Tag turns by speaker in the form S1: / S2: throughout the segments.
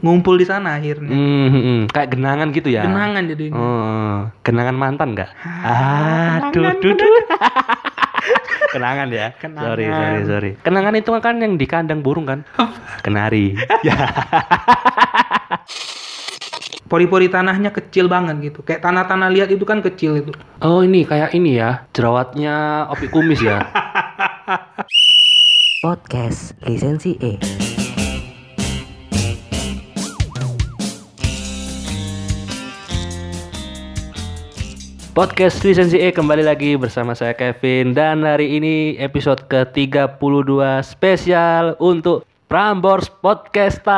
S1: ngumpul di sana akhirnya.
S2: Hmm, hmm, hmm. kayak genangan gitu ya.
S1: Kenangan jadinya.
S2: Oh, kenangan mantan nggak?
S1: Ah,
S2: Aduh,
S1: kenangan,
S2: duh, duh. kenangan ya.
S1: Kenangan.
S2: Sorry, sorry, sorry. Kenangan itu kan yang di kandang burung kan? Kenari. ya.
S1: Pori-pori tanahnya kecil banget gitu. Kayak tanah-tanah liat itu kan kecil itu.
S2: Oh, ini kayak ini ya. Jerawatnya Opi Kumis ya.
S3: Podcast lisensi E.
S2: Podcast Lisensi E kembali lagi bersama saya Kevin dan hari ini episode ke-32 spesial untuk Prambors Podcaster.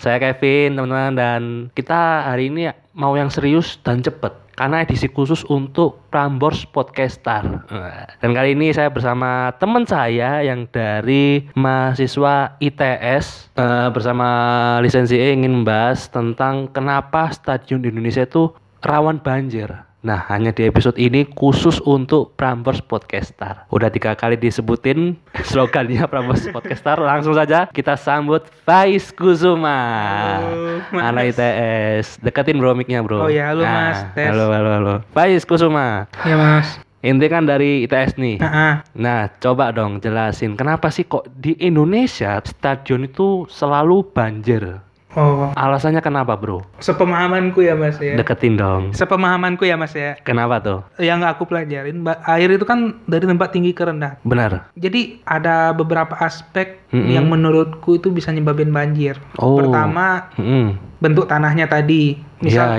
S2: Saya Kevin, teman-teman dan kita hari ini mau yang serius dan cepet karena edisi khusus untuk Prambors Podcaster. Nah, Dan kali ini saya bersama teman saya yang dari mahasiswa ITS eh, bersama lisensi E ingin membahas tentang kenapa stadion di Indonesia itu rawan banjir. Nah, hanya di episode ini khusus untuk Prambors Podcaster. Udah tiga kali disebutin slogannya Prambors Podcaster. Langsung saja kita sambut Faiz Kusuma.
S1: Halo, Mas.
S2: anak ITS. Deketin bro mic-nya, bro. Nah,
S1: Oh ya, halo, Mas. Tes.
S2: Halo, halo, halo. Faiz Kusuma.
S1: Ya mas.
S2: Inti kan dari ITS nih.
S1: Nah,
S2: Nah, coba dong jelasin kenapa sih kok di Indonesia stadion itu selalu banjir?
S1: oh,
S2: Alasannya kenapa, bro?
S1: sepemahamanku ya mas ya.
S2: Deketin dong.
S1: Sepemahamanku ya mas ya.
S2: Kenapa tuh?
S1: Yang aku pelajarin, ba- air itu kan dari tempat tinggi ke rendah.
S2: Benar.
S1: Jadi ada beberapa aspek
S2: Mm-mm.
S1: yang menurutku itu bisa nyebabin banjir.
S2: Hmm. Oh.
S1: Pertama
S2: Hmm.
S1: bentuk tanahnya tadi,
S2: Ya,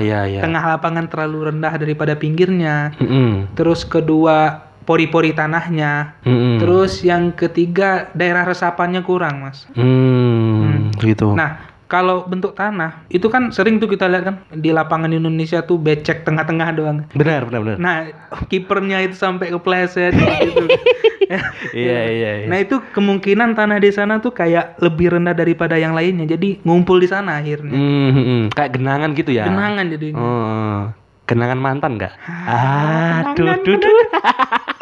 S1: misal
S2: ya, ya.
S1: tengah lapangan terlalu rendah daripada pinggirnya.
S2: Mm-mm.
S1: Terus kedua pori-pori tanahnya.
S2: Mm-mm.
S1: Terus yang ketiga daerah resapannya kurang mas.
S2: Hmm, Mm, gitu.
S1: Nah kalau bentuk tanah itu kan sering tuh kita lihat kan di lapangan Indonesia tuh becek tengah-tengah doang.
S2: benar, benar, benar.
S1: Nah kipernya itu sampai kepleset gitu.
S2: Iya, iya, iya.
S1: Nah itu kemungkinan tanah di sana tuh kayak lebih rendah daripada yang lainnya, jadi ngumpul di sana akhirnya.
S2: Hmm, hmm, hmm. kayak genangan gitu ya.
S1: Kenangan jadinya.
S2: Oh, kenangan mantan nggak?
S1: Ah,
S2: Ah, Aduh, duh, duh.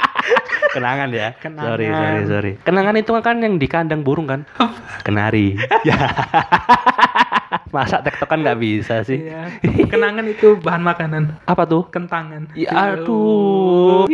S2: kenangan ya.
S1: Kenangan.
S2: Sorry, sorry, sorry. Kenangan itu kan yang di kandang burung kan? Kenari. ya. Masa tektokan nggak bisa sih?
S1: Iya. Kenangan itu bahan makanan,
S2: Apa tuh?
S1: kentangan. Gitu.
S2: Ya, aduh.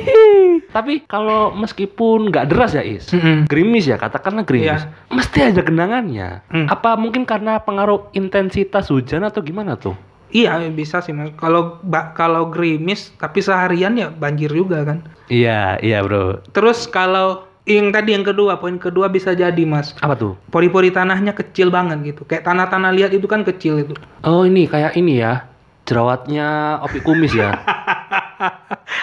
S2: Tapi kalau meskipun nggak deras ya Is,
S1: Mm-mm.
S2: gerimis ya katakanlah gerimis,
S1: Hmm. Iya.
S2: mesti ada genangannya.
S1: Hmm.
S2: Apa mungkin karena pengaruh intensitas hujan atau gimana tuh?
S1: Iya bisa sih mas. Kalau ba- kalau gerimis tapi seharian ya banjir juga kan.
S2: Iya, iya bro.
S1: Terus kalau yang tadi yang kedua poin kedua bisa jadi mas.
S2: Apa tuh?
S1: Pori-pori tanahnya kecil banget gitu, kayak tanah-tanah liat itu kan kecil itu.
S2: Oh ini kayak ini ya, jerawatnya Opi Kumis ya.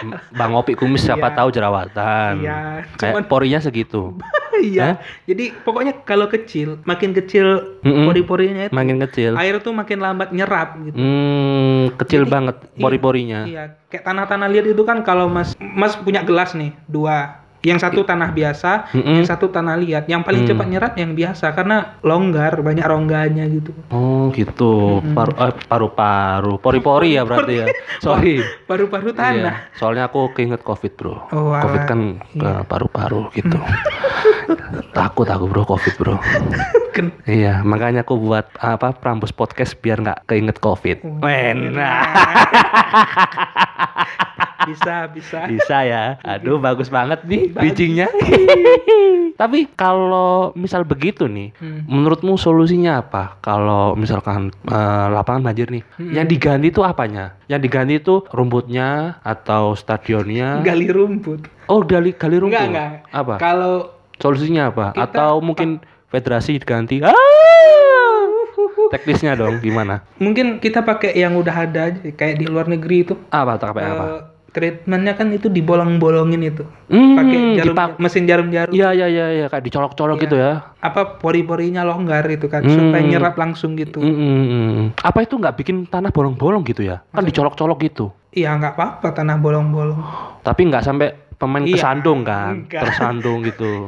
S2: M- Bang Opi Kumis siapa
S1: Iya.
S2: tahu jerawatan.
S1: Iya,
S2: Kayak
S1: cuman-
S2: porinya segitu.
S1: Iya. Jadi pokoknya kalau kecil, makin kecil
S2: Mm-mm.
S1: pori-porinya itu,
S2: Makin kecil.
S1: air tuh makin lambat nyerap gitu.
S2: Hmm, kecil
S1: Jadi-
S2: banget pori-porinya.
S1: Iya, kayak tanah-tanah liat itu kan kalau Mas Mas punya gelas nih, dua. Yang satu tanah biasa,
S2: Iya. Mm-mm.
S1: yang satu tanah liat. Yang paling
S2: Hmm.
S1: cepat nyerap yang biasa karena longgar, banyak rongganya gitu.
S2: Oh gitu, Paru- eh, paru-paru, pori-pori ya berarti ya. Sorry.
S1: Paru-paru tanah.
S2: Iya, soalnya aku keinget covid bro.
S1: Oh, alah.
S2: covid kan eh, paru-paru gitu.
S1: Mm.
S2: Takut aku bro covid bro.
S1: Ken-
S2: Iya, makanya aku buat apa Prambos podcast biar nggak keinget covid.
S1: Oh, iya.
S2: nah, Enak.
S1: bisa, bisa.
S2: Bisa ya. Aduh bagus banget nih
S1: Bagus.
S2: bijinya. Tapi kalau misal begitu nih,
S1: Hmm.
S2: menurutmu solusinya apa? Kalau misalkan eh, lapangan banjir nih,
S1: Mhm.
S2: yang diganti itu apanya? Yang diganti itu rumputnya atau stadionnya?
S1: Gali rumput.
S2: Oh, gali gali rumput.
S1: Enggak, enggak.
S2: Apa?
S1: Kalau
S2: Solusinya apa?
S1: Kita-
S2: atau mungkin federasi diganti? Ah! Teknisnya dong gimana?
S1: mungkin kita pakai yang udah ada aja, kayak di luar negeri itu.
S2: Apa atau apa? apa?
S1: Eh, treatmentnya kan itu dibolong-bolongin itu.
S2: Hmm,
S1: Pakai jarum
S2: dipak-
S1: mesin jarum-jarum.
S2: Iya, iya, iya, iya, kayak dicolok-colok gitu ya.
S1: apa pori-porinya longgar itu kan
S2: Hmm.
S1: supaya nyerap langsung gitu.
S2: Mm, mm, mm. Apa itu nggak bikin tanah bolong-bolong gitu ya? Kan dicolok-colok gitu.
S1: Iya nggak apa-apa tanah bolong-bolong.
S2: Tapi nggak sampai pemain
S1: Iya.
S2: kesandung kan,
S1: Enggak.
S2: tersandung gitu.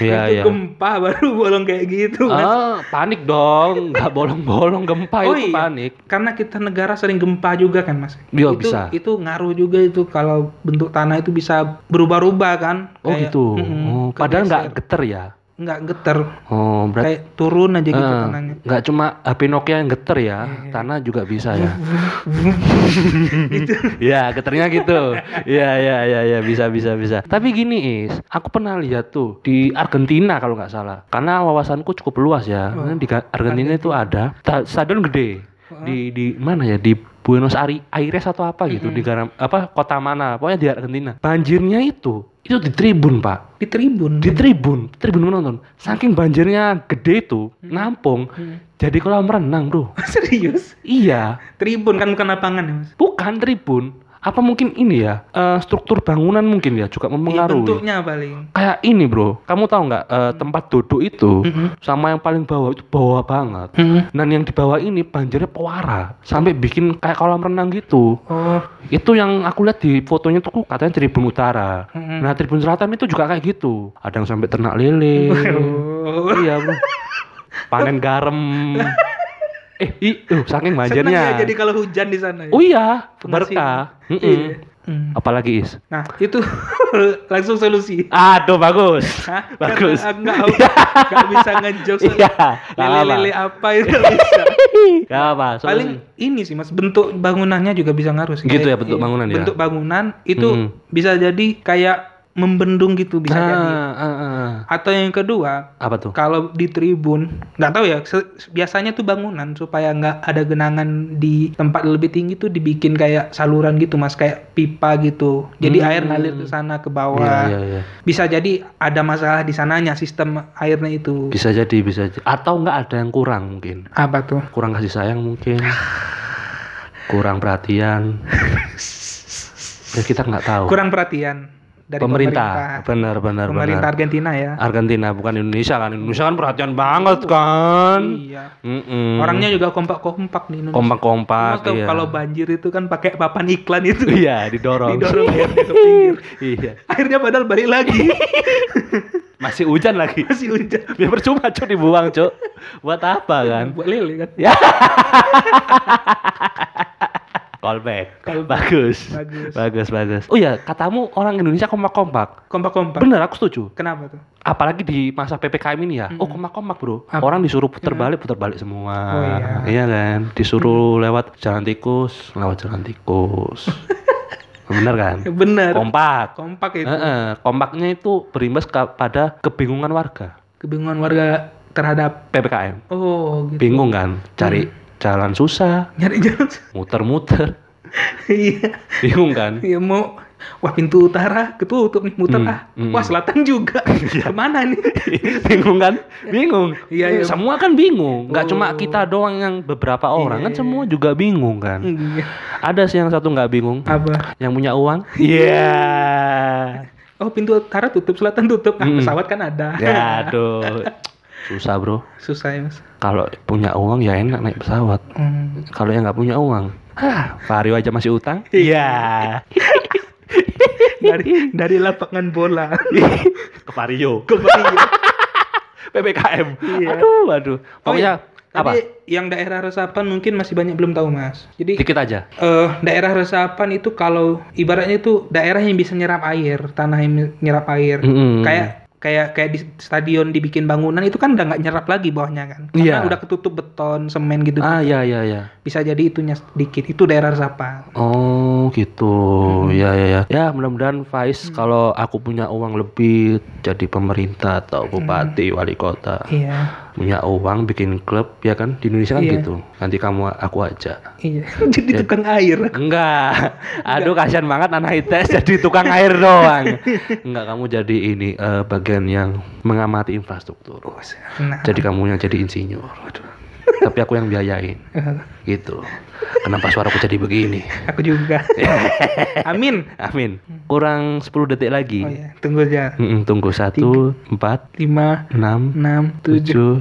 S2: Iya,
S1: itu
S2: iya.
S1: gempa baru bolong kayak gitu. Mas.
S2: Ah, panik dong, nggak bolong-bolong gempa
S1: Oh, iya.
S2: itu panik.
S1: Karena kita negara sering gempa juga kan mas.
S2: Iya,
S1: itu,
S2: bisa.
S1: Itu ngaruh juga itu kalau bentuk tanah itu bisa berubah-ubah kan.
S2: Oh
S1: Kayak,
S2: gitu.
S1: mm-mm,
S2: Oh, padahal nggak
S1: kegeser.
S2: geter ya.
S1: nggak getar
S2: Oh,
S1: kayak
S2: berarti
S1: turun aja gitu
S2: Eh,
S1: tanahnya Iya,
S2: nggak cuma HP Nokia yang geter ya, tanah juga bisa ya. ya, geternya gitu. Ya, ya, ya, ya, bisa, bisa, bisa. Tapi gini is, aku pernah lihat tuh di Argentina kalau nggak salah. Karena wawasanku cukup luas ya.
S1: Oh,
S2: Karena Di Ga- Argentina itu ada ta- stadion gede di di mana ya di Buenos Ari- Aires atau apa gitu di garam apa kota mana pokoknya di Argentina banjirnya itu itu di tribun pak
S1: di tribun
S2: di tribun tribun menonton saking banjirnya gede itu nampung jadi kolam renang bro
S1: serius
S2: iya
S1: tribun kan bukan lapangan ya mas
S2: bukan tribun apa mungkin ini ya eh, struktur bangunan mungkin ya juga
S1: Iya,
S2: mempengaruhi
S1: bentuknya paling
S2: kayak ini bro kamu tahu nggak eh, tempat duduk itu
S1: Mm-mm.
S2: sama yang paling bawah itu bawah banget
S1: Mm-mm.
S2: dan yang di bawah ini banjirnya pewara sampai bikin kayak kolam renang gitu
S1: oh
S2: itu yang aku lihat di fotonya tuh katanya Tribun Utara.
S1: Mm-mm.
S2: Nah Tribun Selatan itu juga kayak gitu. Ada yang sampai ternak lele.
S1: Oh.
S2: iya bro. Panen garam. eh, i, uh,
S1: Seneng
S2: saking
S1: ya
S2: banjirnya.
S1: jadi kalau hujan di sana ya?
S2: Oh iya,
S1: Masih.
S2: berkah. Mm-mm.
S1: Iya. Hmm.
S2: Apalagi is.
S1: nah itu langsung solusi
S2: Aduh bagus.
S1: Hah?
S2: Bagus.
S1: Karena nggak nggak bisa ngejokes
S2: Iya. Gak
S1: lele-lele
S2: apa.
S1: apa itu nggak bisa
S2: Gak apa. Soalnya-
S1: paling ini sih mas bentuk bangunannya juga bisa ngaruh sih.
S2: Gitu
S1: Kayak-
S2: ya, bentuk
S1: iya,
S2: bangunan ya? Hmm.
S1: bentuk bangunan itu
S2: Mm-mm.
S1: bisa jadi kayak membendung gitu bisa
S2: Ah,
S1: jadi
S2: ah, ah.
S1: atau yang kedua
S2: Apa tuh?
S1: kalau di tribun nggak tahu ya se- biasanya tuh bangunan supaya nggak ada genangan di tempat lebih tinggi tuh dibikin kayak saluran gitu mas kayak pipa gitu jadi
S2: Hmm.
S1: air ngalir ke sana ke bawah
S2: Iya, iya, iya.
S1: bisa jadi ada masalah di sananya sistem airnya itu
S2: Bisa jadi, bisa jadi. Atau nggak ada yang kurang mungkin.
S1: apa tuh
S2: kurang kasih sayang mungkin kurang perhatian ya kita nggak tahu
S1: kurang perhatian dari
S2: pemerintah benar
S1: pemerintah, pemerintah
S2: benar benar Ah.
S1: Argentina ya
S2: Argentina bukan Indonesia kan Indonesia kan perhatian banget kan
S1: iya
S2: Mm-mm.
S1: orangnya juga kompak-kompak di Indonesia Mas
S2: kompak-kompak
S1: tau
S2: Hmm. iya.
S1: kalau banjir itu kan pakai papan iklan itu
S2: iya didorong,
S1: didorong airnya ke pinggir
S2: iya
S1: akhirnya padahal balik lagi
S2: masih hujan lagi
S1: masih hujan
S2: ya percuma cuk dibuang cuk buat apa kan
S1: buat lele kan
S2: callback
S1: Callback.
S2: bagus
S1: Bagus.
S2: bagus bagus oh ya katamu orang Indonesia kompak-kompak
S1: kompak-kompak
S2: bener aku setuju
S1: kenapa tuh
S2: apalagi di masa ppkm ini ya oh komak komak bro
S1: Apa?
S2: orang disuruh putar balik putar balik semua
S1: Iya. Oh, iya.
S2: kan disuruh lewat jalan tikus lewat jalan tikus bener kan
S1: bener Gitu.
S2: kompak
S1: Eh, kompak itu
S2: Heeh, kompaknya itu berimbas kepada kebingungan warga
S1: kebingungan warga terhadap
S2: ppkm
S1: oh gitu
S2: bingung kan cari jalan susah
S1: nyari jalan
S2: muter-muter
S1: iya
S2: bingung kan
S1: iya mau wah pintu utara ketutup nih muter
S2: Hmm,
S1: ah
S2: hmm. Iya.
S1: wah selatan juga kemana nih
S2: bingung kan bingung
S1: Iya, iya.
S2: semua kan bingung nggak
S1: Oh.
S2: cuma kita doang yang beberapa orang kan
S1: iya,
S2: semua juga bingung kan
S1: Iya.
S2: Ada sih yang satu nggak bingung,
S1: apa
S2: yang punya uang. Iya.
S1: oh pintu utara tutup selatan tutup ah
S2: Hmm.
S1: pesawat kan ada
S2: Ya aduh. Susah bro.
S1: susah ya mas
S2: Kalau punya uang ya enak naik pesawat.
S1: Hmm.
S2: Kalau yang nggak punya uang, hah, Vario aja masih utang. Iya.
S1: dari dari lapangan bola Iya.
S2: Ke Vario.
S1: ke Mario.
S2: PPKM.
S1: Iya.
S2: Aduh, aduh. Pokoknya apa?
S1: Tapi yang daerah resapan mungkin masih banyak belum tahu mas. Jadi
S2: Dikit aja.
S1: eh, daerah resapan itu kalau ibaratnya itu daerah yang bisa nyerap air, tanah yang nyerap air.
S2: Mm-mm.
S1: Kayak kayak kayak di stadion dibikin bangunan itu kan udah nggak nyerap lagi bawahnya kan. Karena
S2: Iya.
S1: udah ketutup beton, semen gitu.
S2: Ah ya ya ya.
S1: Bisa jadi itunya sedikit. Itu daerah resapan.
S2: Oh gitu, ya ya ya. Ya mudah-mudahan Faiz kalau aku punya uang lebih jadi pemerintah atau bupati, wali kota,
S1: Iya.
S2: punya uang bikin klub ya kan di Indonesia kan
S1: Iya.
S2: gitu. Nanti kamu aku ajak.
S1: Iya. jadi tukang air.
S2: Enggak, aduh kasihan banget anak ITS jadi tukang air doang. Enggak kamu jadi ini eh, bagian yang mengamati infrastruktur.
S1: Nah.
S2: Jadi kamu yang jadi insinyur. Waduh. Tapi aku yang biayain
S1: eh,
S2: gitu. Kenapa suaraku jadi begini?
S1: Aku juga. Amin.
S2: Amin. Kurang 10 detik lagi.
S1: Hmm. Oh iya, tunggu aja.
S2: Mm-mm, tunggu satu, empat,
S1: lima
S2: enam,
S1: enam tujuh
S2: tujuh,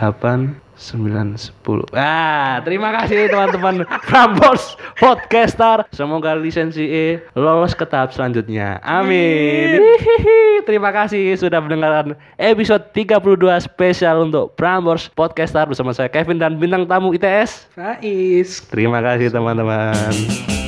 S2: delapan, sembilan, sepuluh. Ah, terima kasih teman-teman Prambors Podcaster. Semoga lisensi E lolos ke tahap selanjutnya. Amin. Hihihi. Terima kasih sudah mendengarkan episode 32 spesial untuk Prambors Podcaster bersama saya Kevin dan bintang tamu ITS.
S1: Faiz
S2: Terima kasih teman-teman.